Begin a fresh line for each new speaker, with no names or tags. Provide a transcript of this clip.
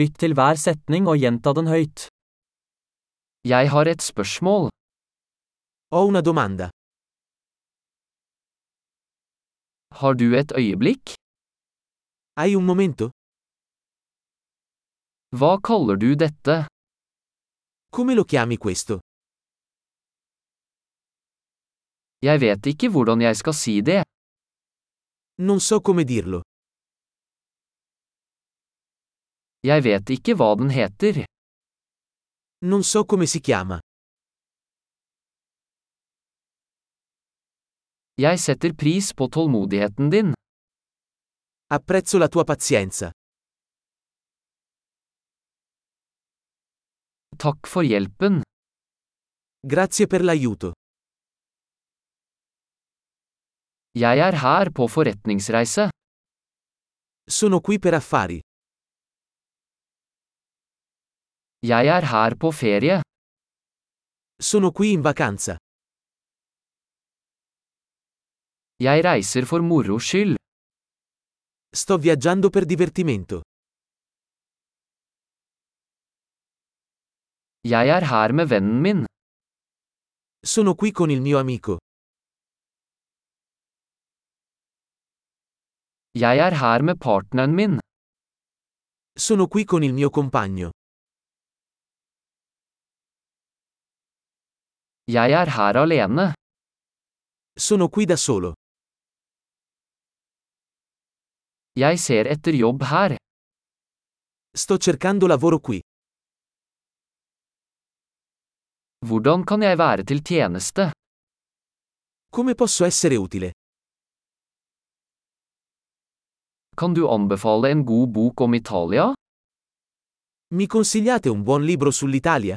Lytt til hver setning og gjenta den høyt.
Jeg har et spørsmål.
Ho una domanda.
Har du et øyeblikk?
Hai un momento?
Hva kaller du dette?
Come lo chiami questo?
Jeg vet ikke hvordan jeg skal si det.
Non so come dirlo.
Jeg vet ikke hva den heter.
Non so come si chiama.
Jeg setter pris på tålmodigheten din.
Apprezzo la tua pazienza.
Takk for hjelpen.
Grazie per l'aiuto.
Jeg er her på forretningsreise.
Sono qui per affari.
Jeg er her på ferie.
Sono qui in vacanza.
Jeg reiser for moro skyld.
Sto viaggiando per divertimento.
Jeg er her med vennen min.
Sono qui con il mio amico.
Jeg er her med partneren min.
Sono qui con il mio compagno.
Jeg er her alene.
Sono qui da solo.
Jeg ser etter jobb her.
Sto cercando lavoro qui.
Hvordan kan jeg være til tjeneste?
Come posso essere utile?
Kan du anbefale en god bok om Italia?
Mi consigliate un buon libro sull'Italia?